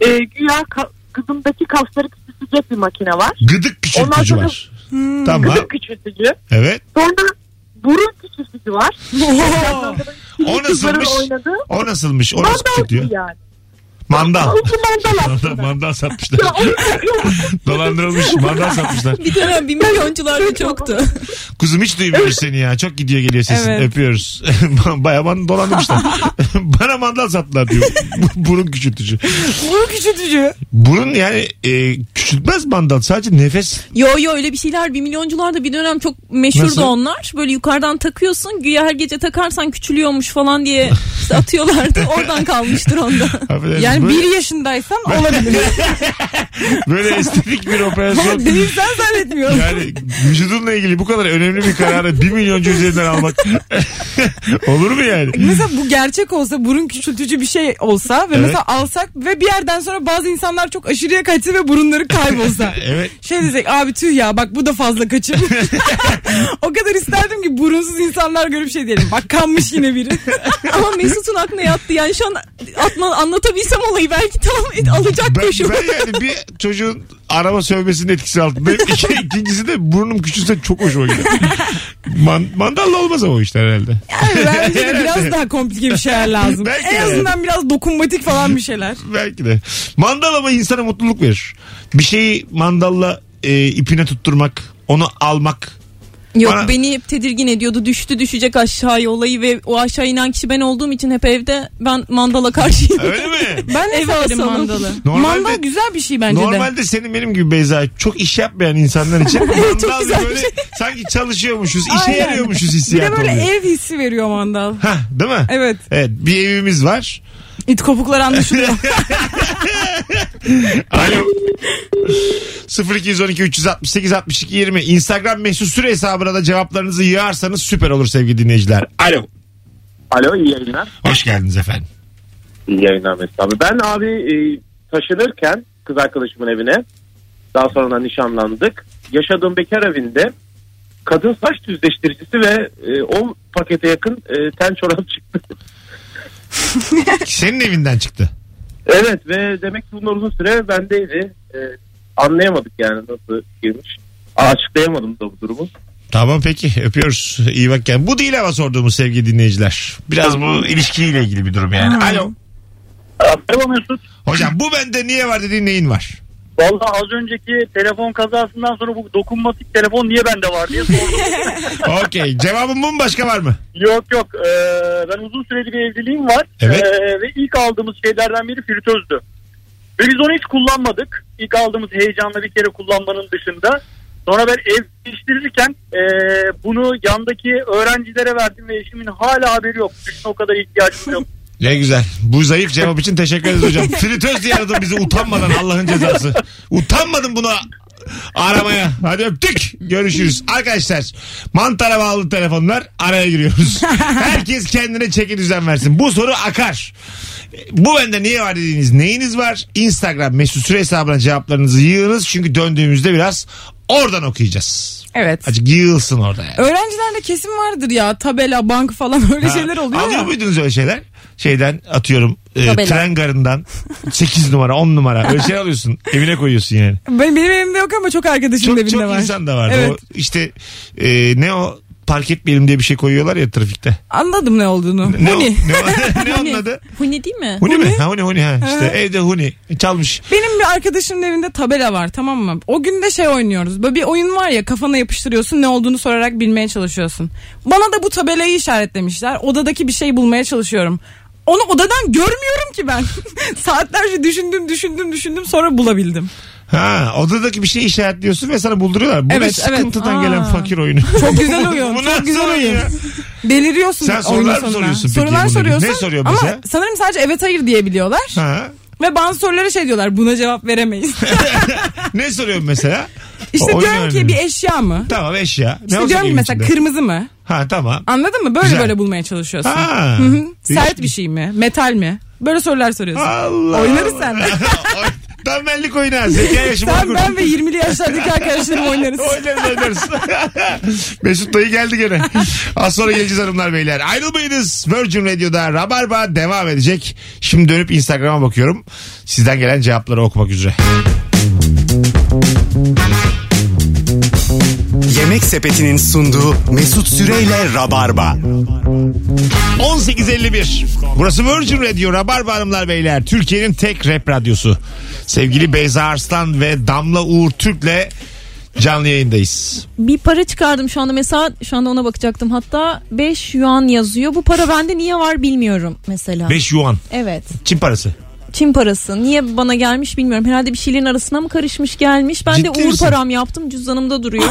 e, güya ka- gıdımdaki kasları küçültecek bir makine var.
Gıdık
Ondan
küçültücü
sonra-
var. Tamam.
Gıdım küçültücü.
Evet.
Sonra burun küçültücü var.
O nasılmış?
Oynadı.
O nasılmış? O nasıl
Mandal
küçültüyor?
gibi yani.
Mandal.
İki mandal
Mandal,
aslında.
mandal satmışlar.
Ya onu-
Dolandırılmış mandal satmışlar.
bir dönem bir
Şey
milyoncularda çoktu.
Kuzum hiç duymuyoruz seni ya. Çok gidiyor geliyor sesin.
Evet.
Öpüyoruz. Baya bana dolandırmışlar. bana mandal sattılar diyor. Burun küçültücü.
Bunu küçültücü.
Burun yani e, küçültmez mandal. Sadece nefes.
Yo yo öyle bir şeyler bir milyoncularda bir dönem çok meşhurdu
Nasıl?
onlar. Böyle yukarıdan takıyorsun güya her gece takarsan küçülüyormuş falan diye işte atıyorlardı. Oradan kalmıştır onda.
Affedersiniz.
Yani
böyle,
bir yaşındaysan olabilir.
böyle estetik bir
Ama
operasyon.
Değilsen zannetmiyorum.
Yani vücudunla ilgili bu kadar önemli bir kararı bir milyoncu üzerinden almak olur mu yani?
Mesela bu gerçek olsa burun küçültücü bir şey olsa ve
Evet.
mesela alsak ve bir yerden sonra bazı insanlar çok aşırıya kaçsa ve burunları kaybolsa.
Evet.
Şey desek abi tüh ya bak bu da fazla kaçır. o kadar isterdim ki burunsuz insanlar görüp şey diyelim. Bak kanmış yine biri.
Ama Mesut'un aklına yattı yani şu an atma, anlatabilsem olayı belki tam alacak
Ben,
şu.
ben yani bir çocuğun araba sövmesinin etkisi altındayım. İki, ikincisi de burnum küçülse çok hoşuma gider. Man, mandalla olmaz ama o işler herhalde.
Yani bence de
Herhalde.
biraz daha komplike bir şeyler lazım.
Belki de.
en azından biraz dokunmatik falan bir şeyler.
Belki de. Mandal ama insana mutluluk verir. Bir şeyi mandalla e, ipine tutturmak, onu almak.
Yok
Bana-
beni hep tedirgin ediyordu. Düştü düşecek aşağıya olayı ve o aşağı inen kişi ben olduğum için hep evde ben mandala karşıyım.
Öyle mi?
Ben de
Eve
severim
asalım.
mandalı.
Normalde-
Mandal güzel bir şey bence de.
Normalde senin benim gibi Beyza çok iş yapmayan insanlar için mandal
güzel bir
böyle
şey.
sanki çalışıyormuşuz, işe
Aynen.
yarıyormuşuz
Bir de
hissiyatı
böyle
oluyor.
ev hissi veriyor mandal.
Hah, değil mi?
Evet.
Evet bir evimiz var.
İt kopuklar anlaşılıyor.
Alo. 0212 368 62 20 Instagram mesut süre hesabına da cevaplarınızı yığarsanız süper olur sevgili dinleyiciler. Alo.
Alo iyi yayınlar.
Hoş geldiniz efendim.
İyi yayınlar Mesut abi. Ben abi e, taşınırken kız arkadaşımın evine daha sonra nişanlandık. Yaşadığım bekar evinde kadın saç düzleştiricisi ve e, 10 pakete yakın e, ten çorap çıktı.
Senin evinden çıktı.
evet ve demek ki bunlar uzun süre bendeydi. E, anlayamadık yani nasıl girmiş. Açıklayamadım da bu durumu.
Tamam peki öpüyoruz. İyi bak kendine. Bu değil ama sorduğumuz sevgili dinleyiciler. Biraz bu ilişkiyle ilgili bir durum yani. Alo.
Merhaba Mesut.
Hocam bu bende niye var dediğin neyin var?
Valla az önceki telefon kazasından sonra bu dokunmatik telefon niye bende var diye sordum.
Okey. Cevabın bu mu başka var mı?
yok yok Ee, ben uzun süreli bir evliliğim var.
Evet.
Ee, ve ilk aldığımız şeylerden biri fritözdü. Ve biz onu hiç kullanmadık. İlk aldığımız heyecanla bir kere kullanmanın dışında. Sonra ben ev değiştirirken ee, bunu yandaki öğrencilere verdim ve eşimin hala haberi yok. Düşünün o kadar ihtiyacım yok.
Ne güzel. Bu zayıf cevap için teşekkür ederiz hocam. Fritöz diye aradın bizi utanmadan Allah'ın cezası. Utanmadın buna aramaya. Hadi öptük. Görüşürüz. Arkadaşlar mantara bağlı telefonlar araya giriyoruz. Herkes kendine çeki düzen versin. Bu soru akar. Bu bende niye var dediğiniz neyiniz var? Instagram mesut süre hesabına cevaplarınızı yığınız. Çünkü döndüğümüzde biraz oradan okuyacağız.
evet.
Azıcık yığılsın orada yani.
Öğrencilerde kesim vardır ya tabela, bank falan öyle
Ha,
şeyler oluyor
Alıyor
ya.
muydunuz öyle şeyler? Şeyden atıyorum e,
Tabela.
tren garından 8 numara 10 numara öyle şey alıyorsun evine koyuyorsun yani.
Benim, benim evimde yok ama çok arkadaşımın
Çok,
evinde
çok
var.
insan da vardı.
Evet.
O işte e, ne o park etmeyelim diye bir şey koyuyorlar ya trafikte.
Anladım ne olduğunu. Hani
Ne, o-
Huni.
Ne, o- ne onun adı?
Huni değil mi?
Huni mi? Ha huni huni ha. İşte evde huni. Çalmış.
Benim bir arkadaşımın evinde tabela var tamam mı? O gün de şey oynuyoruz. Böyle bir oyun var ya kafana yapıştırıyorsun ne olduğunu sorarak bilmeye çalışıyorsun. Bana da bu tabelayı işaretlemişler. Odadaki bir şey bulmaya çalışıyorum. Onu odadan görmüyorum ki ben. Saatlerce düşündüm düşündüm düşündüm sonra bulabildim.
Ha odadaki bir şey işaretliyorsun ve sana bulduruyorlar. Bu ne
Evet, evet.
sıkıntıdan
Aa.
gelen fakir oyunu.
Çok güzel oyun.
Bu
çok
nasıl
güzel
oyun
oyun.
ya?
Deliriyorsun.
Sen
oyunun
sorular mı
sonuna.
soruyorsun peki
Sorular
bunu?
soruyorsun.
Ne soruyor
Ama
bize?
sanırım sadece evet hayır diyebiliyorlar.
Ha.
Ve bazı sorulara şey diyorlar buna cevap veremeyiz.
Ne soruyorum mesela?
işte
O oyun
diyorum ki
önemli.
bir eşya mı?
Tamam eşya. Ne
İşte
olacak
diyorum ki
evin
mesela
içinde?
kırmızı mı?
Ha tamam.
Anladın mı? Böyle
Güzel.
böyle bulmaya çalışıyorsun.
Ha.
Hı hı. Sert
Değişik.
bir şey mi? Metal mi? Böyle sorular soruyorsun.
Allah.
Oynarız seninle.
Tam benlik oyunu ha. Zeka yaşımı
Sen
kurdum.
ben ve 20'li yaşlardaki arkadaşlarım oynarız.
Oynarız oynarız. Mesut dayı geldi gene. Az sonra geleceğiz hanımlar beyler. Ayrılmayınız. Virgin Radio'da Rabarba devam edecek. Şimdi dönüp Instagram'a bakıyorum. Sizden gelen cevapları okumak üzere.
Yemek Sepeti'nin sunduğu Mesut Süreyle Rabarba.
18.51. Burası Virgin Radio Rabarba Hanımlar Beyler. Türkiye'nin tek rap radyosu. Sevgili Beyza Arslan ve Damla Uğur Türk'le canlı yayındayız.
Bir para çıkardım şu anda mesela şu anda ona bakacaktım hatta 5 yuan yazıyor. Bu para bende niye var bilmiyorum mesela.
5 yuan.
Evet.
Çin parası.
Çin parası. Niye bana gelmiş bilmiyorum. Herhalde bir şeylerin arasına mı karışmış gelmiş. Ben de
Ciddi
uğur
misin?
param yaptım. Cüzdanımda duruyor.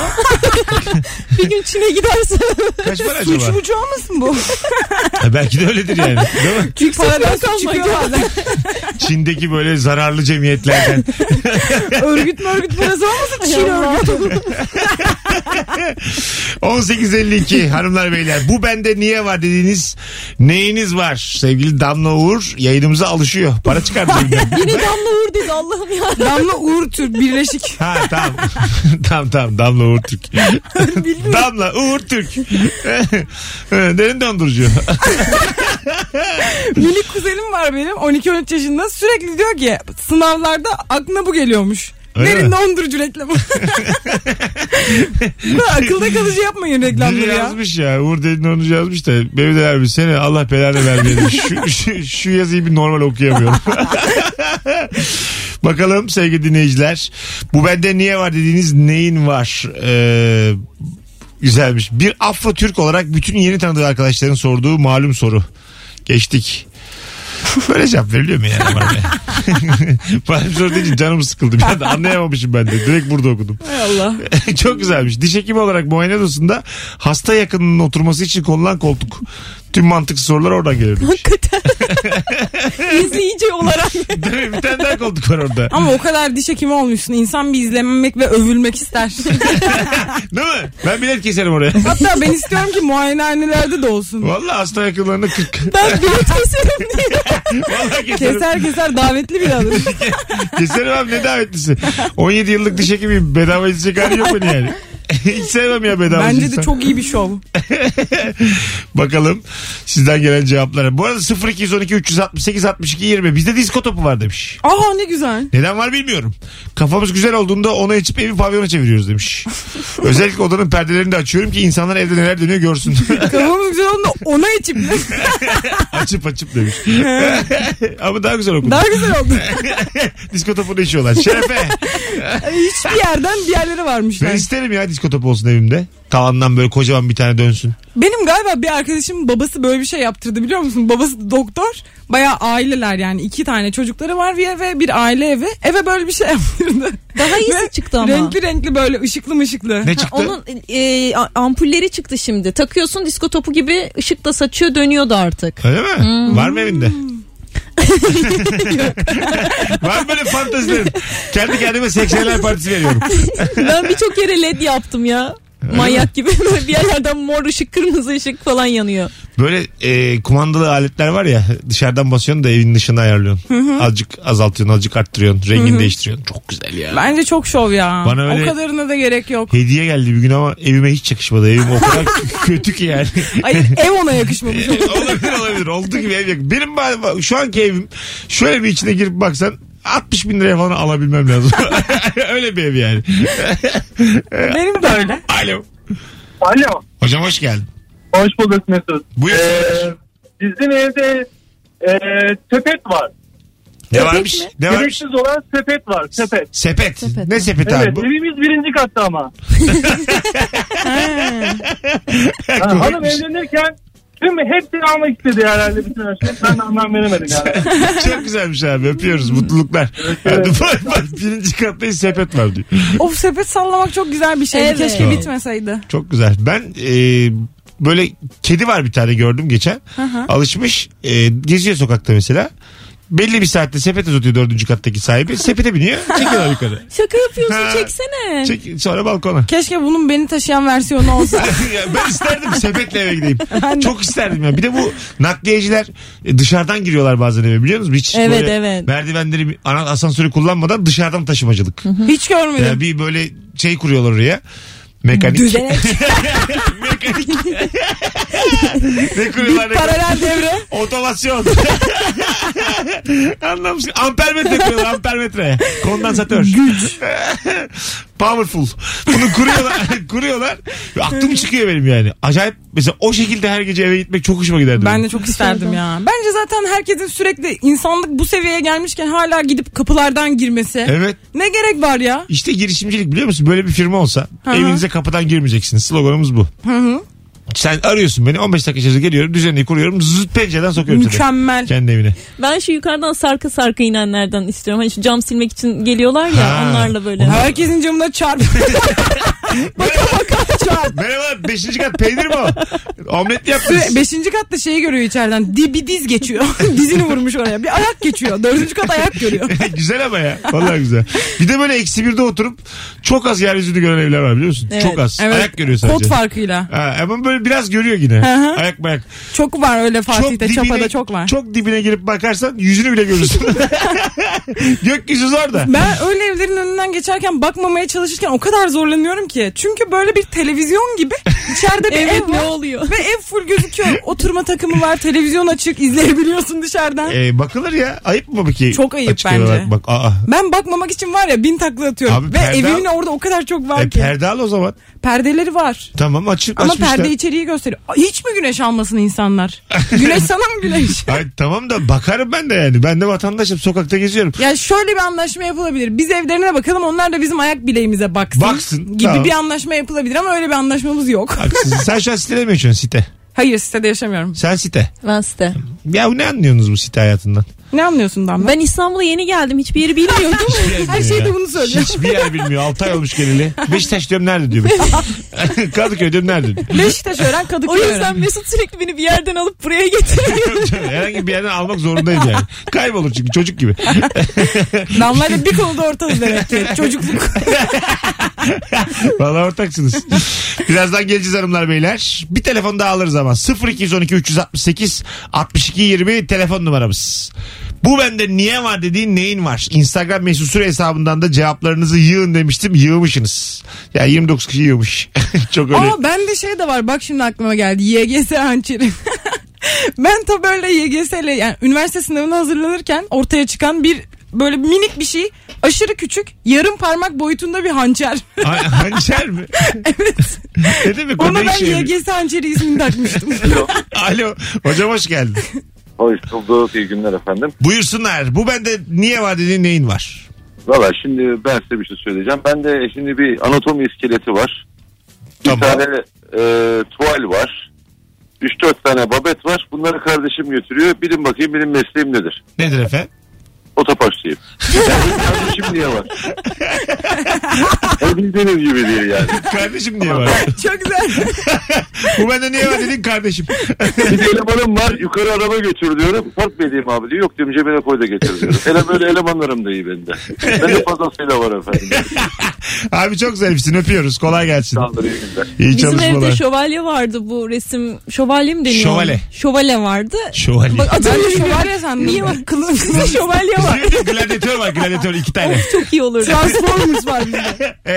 bir gün Çin'e giderse
Kaç para acaba?
Suç bucu olmasın bu?
Ha, belki de öyledir yani. Değil mi?
Çünkü paradan
kalmak
suç çıkıyor bazen.
Çin'deki böyle zararlı cemiyetlerden.
örgüt mü örgüt parası olmasın? Çin örgütü.
18.52 hanımlar beyler bu bende niye var dediğiniz neyiniz var sevgili Damla Uğur yayınımıza alışıyor para çıkardı elimden.
yine damla uğur dedi Allah'ım ya.
Damla Uğur Türk birleşik.
ha tamam tamam tamam Damla Uğur Türk Damla Uğur Türk derin dondurucu
Minik kuzenim var benim 12-13 yaşında sürekli diyor ki sınavlarda aklına bu geliyormuş.
Öyle mi?
Derin dondurucu reklamı. Bu Akılda kalıcı yapmayın
Biri
reklamları ya.
yazmış ya Uğur derin dondurucu yazmış da beni de abi seni Allah belanı vermeyelim şu, şu, şu yazıyı bir normal okuyamıyorum Bakalım sevgili dinleyiciler. Bu bende niye var dediğiniz neyin var? Ee, güzelmiş. Bir Afro Türk olarak bütün yeni tanıdığı arkadaşların sorduğu malum soru. Geçtik. Böyle cevap veriliyor mu yani? bana ya? malum soru deyince canım sıkıldı. Bir anda anlayamamışım ben de. Direkt burada okudum.
Allah.
Çok güzelmiş. Diş hekimi olarak muayene odasında hasta yakınının oturması için konulan koltuk. Tüm mantıksız sorular oradan gelir. demiş.
İzleyici olarak.
Değil mi? Bir tane daha koltuk var orada.
Ama o kadar diş hekimi olmuşsun. İnsan bir izlenmek ve övülmek ister.
Değil mi? Ben bilet keserim oraya.
Hatta ben istiyorum ki muayenehanelerde de olsun.
Vallahi hasta yakınlarına 40.
Ben bilet keserim diye.
Vallahi keserim.
Keser keser davetli bile alır.
keserim abi ne davetlisi. 17 yıllık diş hekimi bedava izleyecek hali yok mu yani? Hiç sevmem ya bedava
Bence
insan.
de çok iyi bir şov.
Bakalım sizden gelen cevaplara. Bu arada 0212 368 62 20 bizde disko topu var demiş.
Aa ne güzel.
Neden var bilmiyorum. Kafamız güzel olduğunda onu içip evi pavyona çeviriyoruz demiş. Özellikle odanın perdelerini de açıyorum ki insanlar evde neler dönüyor görsün.
Kafamız güzel oldu ona içip.
açıp açıp demiş. Ama daha güzel okudun.
Daha güzel oldu.
Disko topunu içiyorlar. Şerefe.
Hiçbir yerden bir yerlere
Ben
varmışlar.
isterim ya disko topu olsun evimde. Tavandan böyle kocaman bir tane dönsün.
Benim galiba bir arkadaşımın babası böyle bir şey yaptırdı biliyor musun? Babası doktor. Bayağı aileler yani iki tane çocukları var bir eve bir aile evi. Eve böyle bir şey yaptırdı.
Daha
Ve
iyisi çıktı ama.
Renkli renkli böyle ışıklı mışıklı.
Ne çıktı?
Onun e, a- ampulleri çıktı şimdi. Takıyorsun disko topu gibi ışık da saçıyor dönüyordu artık.
Öyle mi? Var mı evinde? Var mı böyle fantazilerin? Kendi kendime 80'ler partisi veriyorum.
Ben birçok yere led yaptım ya. Manyak gibi Böyle bir yerlerden mor ışık kırmızı ışık falan yanıyor.
Böyle e, kumandalı aletler var ya dışarıdan basıyorsun da evin dışını ayarlıyorsun. azıcık azaltıyorsun azıcık arttırıyorsun. Rengini değiştiriyorsun. Çok güzel ya.
Bence çok şov ya.
Bana öyle-
O kadarına da gerek yok.
Hediye geldi bir gün ama evime hiç yakışmadı. Evim o kadar kötü ki yani.
Ay ev ona yakışmamış.
E, olabilir olabilir. Olduğu gibi ev yakın. Benim ba- şu anki evim şöyle bir içine girip baksan 60 bin liraya falan alabilmem lazım. öyle bir ev yani.
Benim de öyle.
Alo.
Alo.
Hocam hoş geldin.
Hoş bulduk Mesut.
Buyursunlar.
Ee, bizim evde e, sepet var.
Ne varmış? Ne varmış?
Gereksiz olan sepet var. Sepet.
Sepet.
Sepet.
Ne sepeti
Evet
abi bu?
evimiz birinci katta ama. Ha, hanım
Komikmiş.
evlenirken tüm hepsini almak istedi herhalde bütün her şeyi. Ben de anlam veremedim yani.
Çok güzelmiş abi öpüyoruz mutluluklar. Hadi bay bay. Birinci kattayız sepet var diyor.
Of sepet sallamak çok güzel bir şey.
Evet.
Keşke
Doğru.
bitmeseydi.
Çok güzel. Ben e, böyle kedi var bir tane gördüm geçen. Alışmış. E, geziyor sokakta mesela. Belli bir saatte sepet uzatıyor dördüncü kattaki sahibi. Sepete biniyor. Çekiyorlar yukarı.
Şaka
Ha.
yapıyorsun çeksene.
Çek, sonra balkona.
Keşke bunun beni taşıyan versiyonu olsa.
Ya ben isterdim sepetle eve gideyim.
Ben de.
Çok isterdim ya. Bir de bu nakliyeciler e, dışarıdan giriyorlar bazen eve biliyor musunuz? Hiç
Evet,
böyle
evet.
merdivenleri bir- ana- asansörü kullanmadan dışarıdan taşımacılık.
Hiç görmedim.
Ya bir böyle şey kuruyorlar oraya. Mekanik.
Düzenek.
Mekanik. ne kuruyorlar? ne kuruyorlar?
Paralel devre.
Otomasyon. Anlamış. Ampermetre kuruyorlar ampermetre. Kondansatör. Güç. Powerful. Bunu kuruyorlar. kuruyorlar. Ve Aklım çıkıyor benim yani. Acayip mesela o şekilde her gece eve gitmek çok hoşuma giderdi.
Ben
benim.
de çok isterdim ya. Bence zaten herkesin sürekli insanlık bu seviyeye gelmişken hala gidip kapılardan girmesi.
Evet.
Ne gerek var ya?
İşte girişimcilik biliyor musun? Böyle bir firma olsa
hı.
evinize kapıdan girmeyeceksiniz. Sloganımız bu. Sen arıyorsun beni 15 dakika içerisinde geliyorum düzenini kuruyorum zıt pencereden sokuyorum seni.
Mükemmel.
Kendi evine.
Ben şu yukarıdan sarka sarka inenlerden istiyorum. Hani şu cam silmek için geliyorlar ya
Ha.
onlarla böyle.
Herkesin camına çarp. baka baka çarp.
Merhaba 5. kat peynir mi o? Omlet mi yaptınız?
Süre- Beşinci katta şeyi görüyor içeriden. Dibi diz geçiyor. Dizini vurmuş oraya. Bir ayak geçiyor. Dördüncü kat ayak görüyor.
güzel ama ya. Vallahi güzel. Bir de böyle eksi birde oturup çok az yeryüzünü gören evler var biliyor musun?
Evet,
çok az.
evet.
Ayak görüyor sadece.
Kod farkıyla.
Ha, ama böyle biraz görüyor yine.
Hı hı.
Ayak mayak.
Çok var öyle Fatih'te.
dibine-
Çapa'da çok var.
Çok dibine girip bakarsan yüzünü bile görürsün. Gökyüzü zor da.
Ben öyle evlerin önünden geçerken bakmamaya çalışırken o kadar zorlanıyorum ki. Çünkü böyle bir televizyon gibi içeride bir
Evet
ev
ne
var.
oluyor?
Ve ev full gözüküyor. Oturma takımı var, televizyon açık, izleyebiliyorsun dışarıdan.
Ee, bakılır ya. Ayıp mı peki?
Çok ayıp
Açık
bence.
olarak Bak. Aa,
Ben bakmamak için var ya bin takla atıyorum.
Abi
Ve
perde-
evimin orada o kadar çok var
e,
ki.
perde al o zaman.
Perdeleri var.
Tamam açıp
Ama
açmışlar.
perde içeriği gösteriyor. Ay, Hiç mi güneş almasın insanlar? Güneş sana mı güneş?
Ay, tamam da bakarım ben de yani. Ben de vatandaşım sokakta geziyorum.
Ya şöyle bir anlaşma yapılabilir. Biz evlerine bakalım onlar da bizim ayak bileğimize baksın.
Baksın,
Gibi
tamam.
bir anlaşma yapılabilir ama öyle bir anlaşmamız yok.
Haksız. Sen şu an sitede mi yaşıyorsun site?
Hayır sitede yaşamıyorum.
Sen site.
Ben site.
Ya ne anlıyorsunuz bu site hayatından?
Ne anlıyorsun Damla?
Ben İstanbul'a yeni geldim. Hiçbir yeri bilmiyordum.
Her şeyde bunu söylüyor.
Hiçbir yer bilmiyor. 6 ay olmuş geleli. Beşiktaş diyorum nerede diyor. Beşiktaş. Kadıköy diyorum nerede diyor.
Beşiktaş öğren
o
Kadıköy
yüzden
öğren.
Mesut sürekli beni bir yerden alıp buraya getiriyor.
Herhangi bir yerden almak zorundayım yani. Kaybolur çünkü çocuk gibi.
Damla'yla bir konuda ortağız demek ki. Çocukluk.
Valla ortaksınız. Birazdan geleceğiz hanımlar beyler. Bir telefon daha alırız ama. 0212 368 62 20 telefon numaramız. Bu bende niye var dediğin neyin var? Instagram mesut süre hesabından da cevaplarınızı yığın demiştim. Yığmışsınız. Ya 29 kişi yığmış. Çok öyle.
Ama bende şey de var bak şimdi aklıma geldi. YGS hançeri. ben tabii böyle YGS ile yani üniversite sınavına hazırlanırken ortaya çıkan bir böyle minik bir şey aşırı küçük yarım parmak boyutunda bir hançer.
Ha- Hançer mi?
evet.
Ne demek o
Ona
ne
ben
işe yarıyor?
YGS hançeri ismini takmıştım.
Alo. Hocam hoş geldin.
Hoş bulduk. İyi günler efendim.
Buyursunlar. Bu bende niye var dediğin neyin var?
Valla şimdi ben size bir şey söyleyeceğim. Bende şimdi bir anatomi iskeleti var. Bir
Tamam.
tane e, tuval var. 3-4 tane babet var. Bunları kardeşim götürüyor. Bilin bakayım benim mesleğim nedir?
Nedir efendim?
Otoparkçıyım. yani kardeşim niye var? E, bildiğiniz gibi değil yani.
Kardeşim niye var?
Çok güzel.
Bu bende niye var dedin kardeşim.
Bir de elemanım var yukarı araba götür diyorum. Fark mı edeyim abi diyor. Yok diyorum cebine koy da getir diyorum. Hele böyle elemanlarım da iyi bende. Bende fazlasıyla var efendim.
Abi çok zarifsin öpüyoruz. Kolay gelsin.
Sağ olun iyi günler.
İyi
Bizim
çalışmalar.
evde şövalye vardı bu resim. Şövalye mi deniyor?
Şövalye.
Şövalye vardı.
Şövalye.
Bak
Ben de
adını bilmiyorum.
şövalye sandım.
Niye bak kılıfında şövalye
Düğünde gladyatör var gladyatör iki tane.
Çok iyi olur.
Transformers var bizde.
Ee,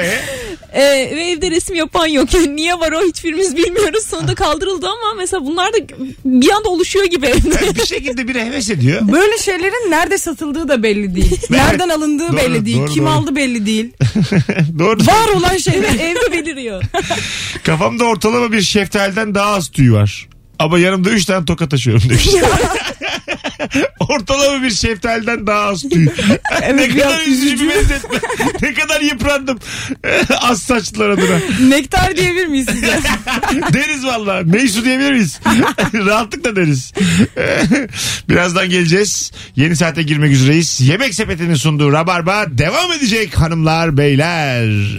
Ee, ve evde resim yapan yok. Yani niye var o hiçbirimiz bilmiyoruz. Sonunda kaldırıldı ama mesela bunlar da bir anda oluşuyor gibi evde.
bir şekilde biri heves ediyor.
Böyle şeylerin nerede satıldığı da belli değil. Nereden alındığı
Doğru,
belli değil.
doğru,
Kim
doğru.
aldı belli değil.
Doğru.
Var olan şeyler
evde beliriyor.
Kafamda ortalama bir şeftaliden daha az tüy var. Ama yanımda 3 tane toka taşıyorum demiş. ortalama bir şeftaliden daha az tüy. ne kadar
biraz
üzücü bir
üzücü.
benzetme. ne kadar yıprandım. az saçlılar adına.
nektar diyebilir miyiz size?
deriz valla. Meysu diyebilir miyiz? Rahatlıkla deriz. Birazdan geleceğiz. Yeni saate girmek üzereyiz. Yemek sepetinin sunduğu Rabarba devam edecek hanımlar beyler.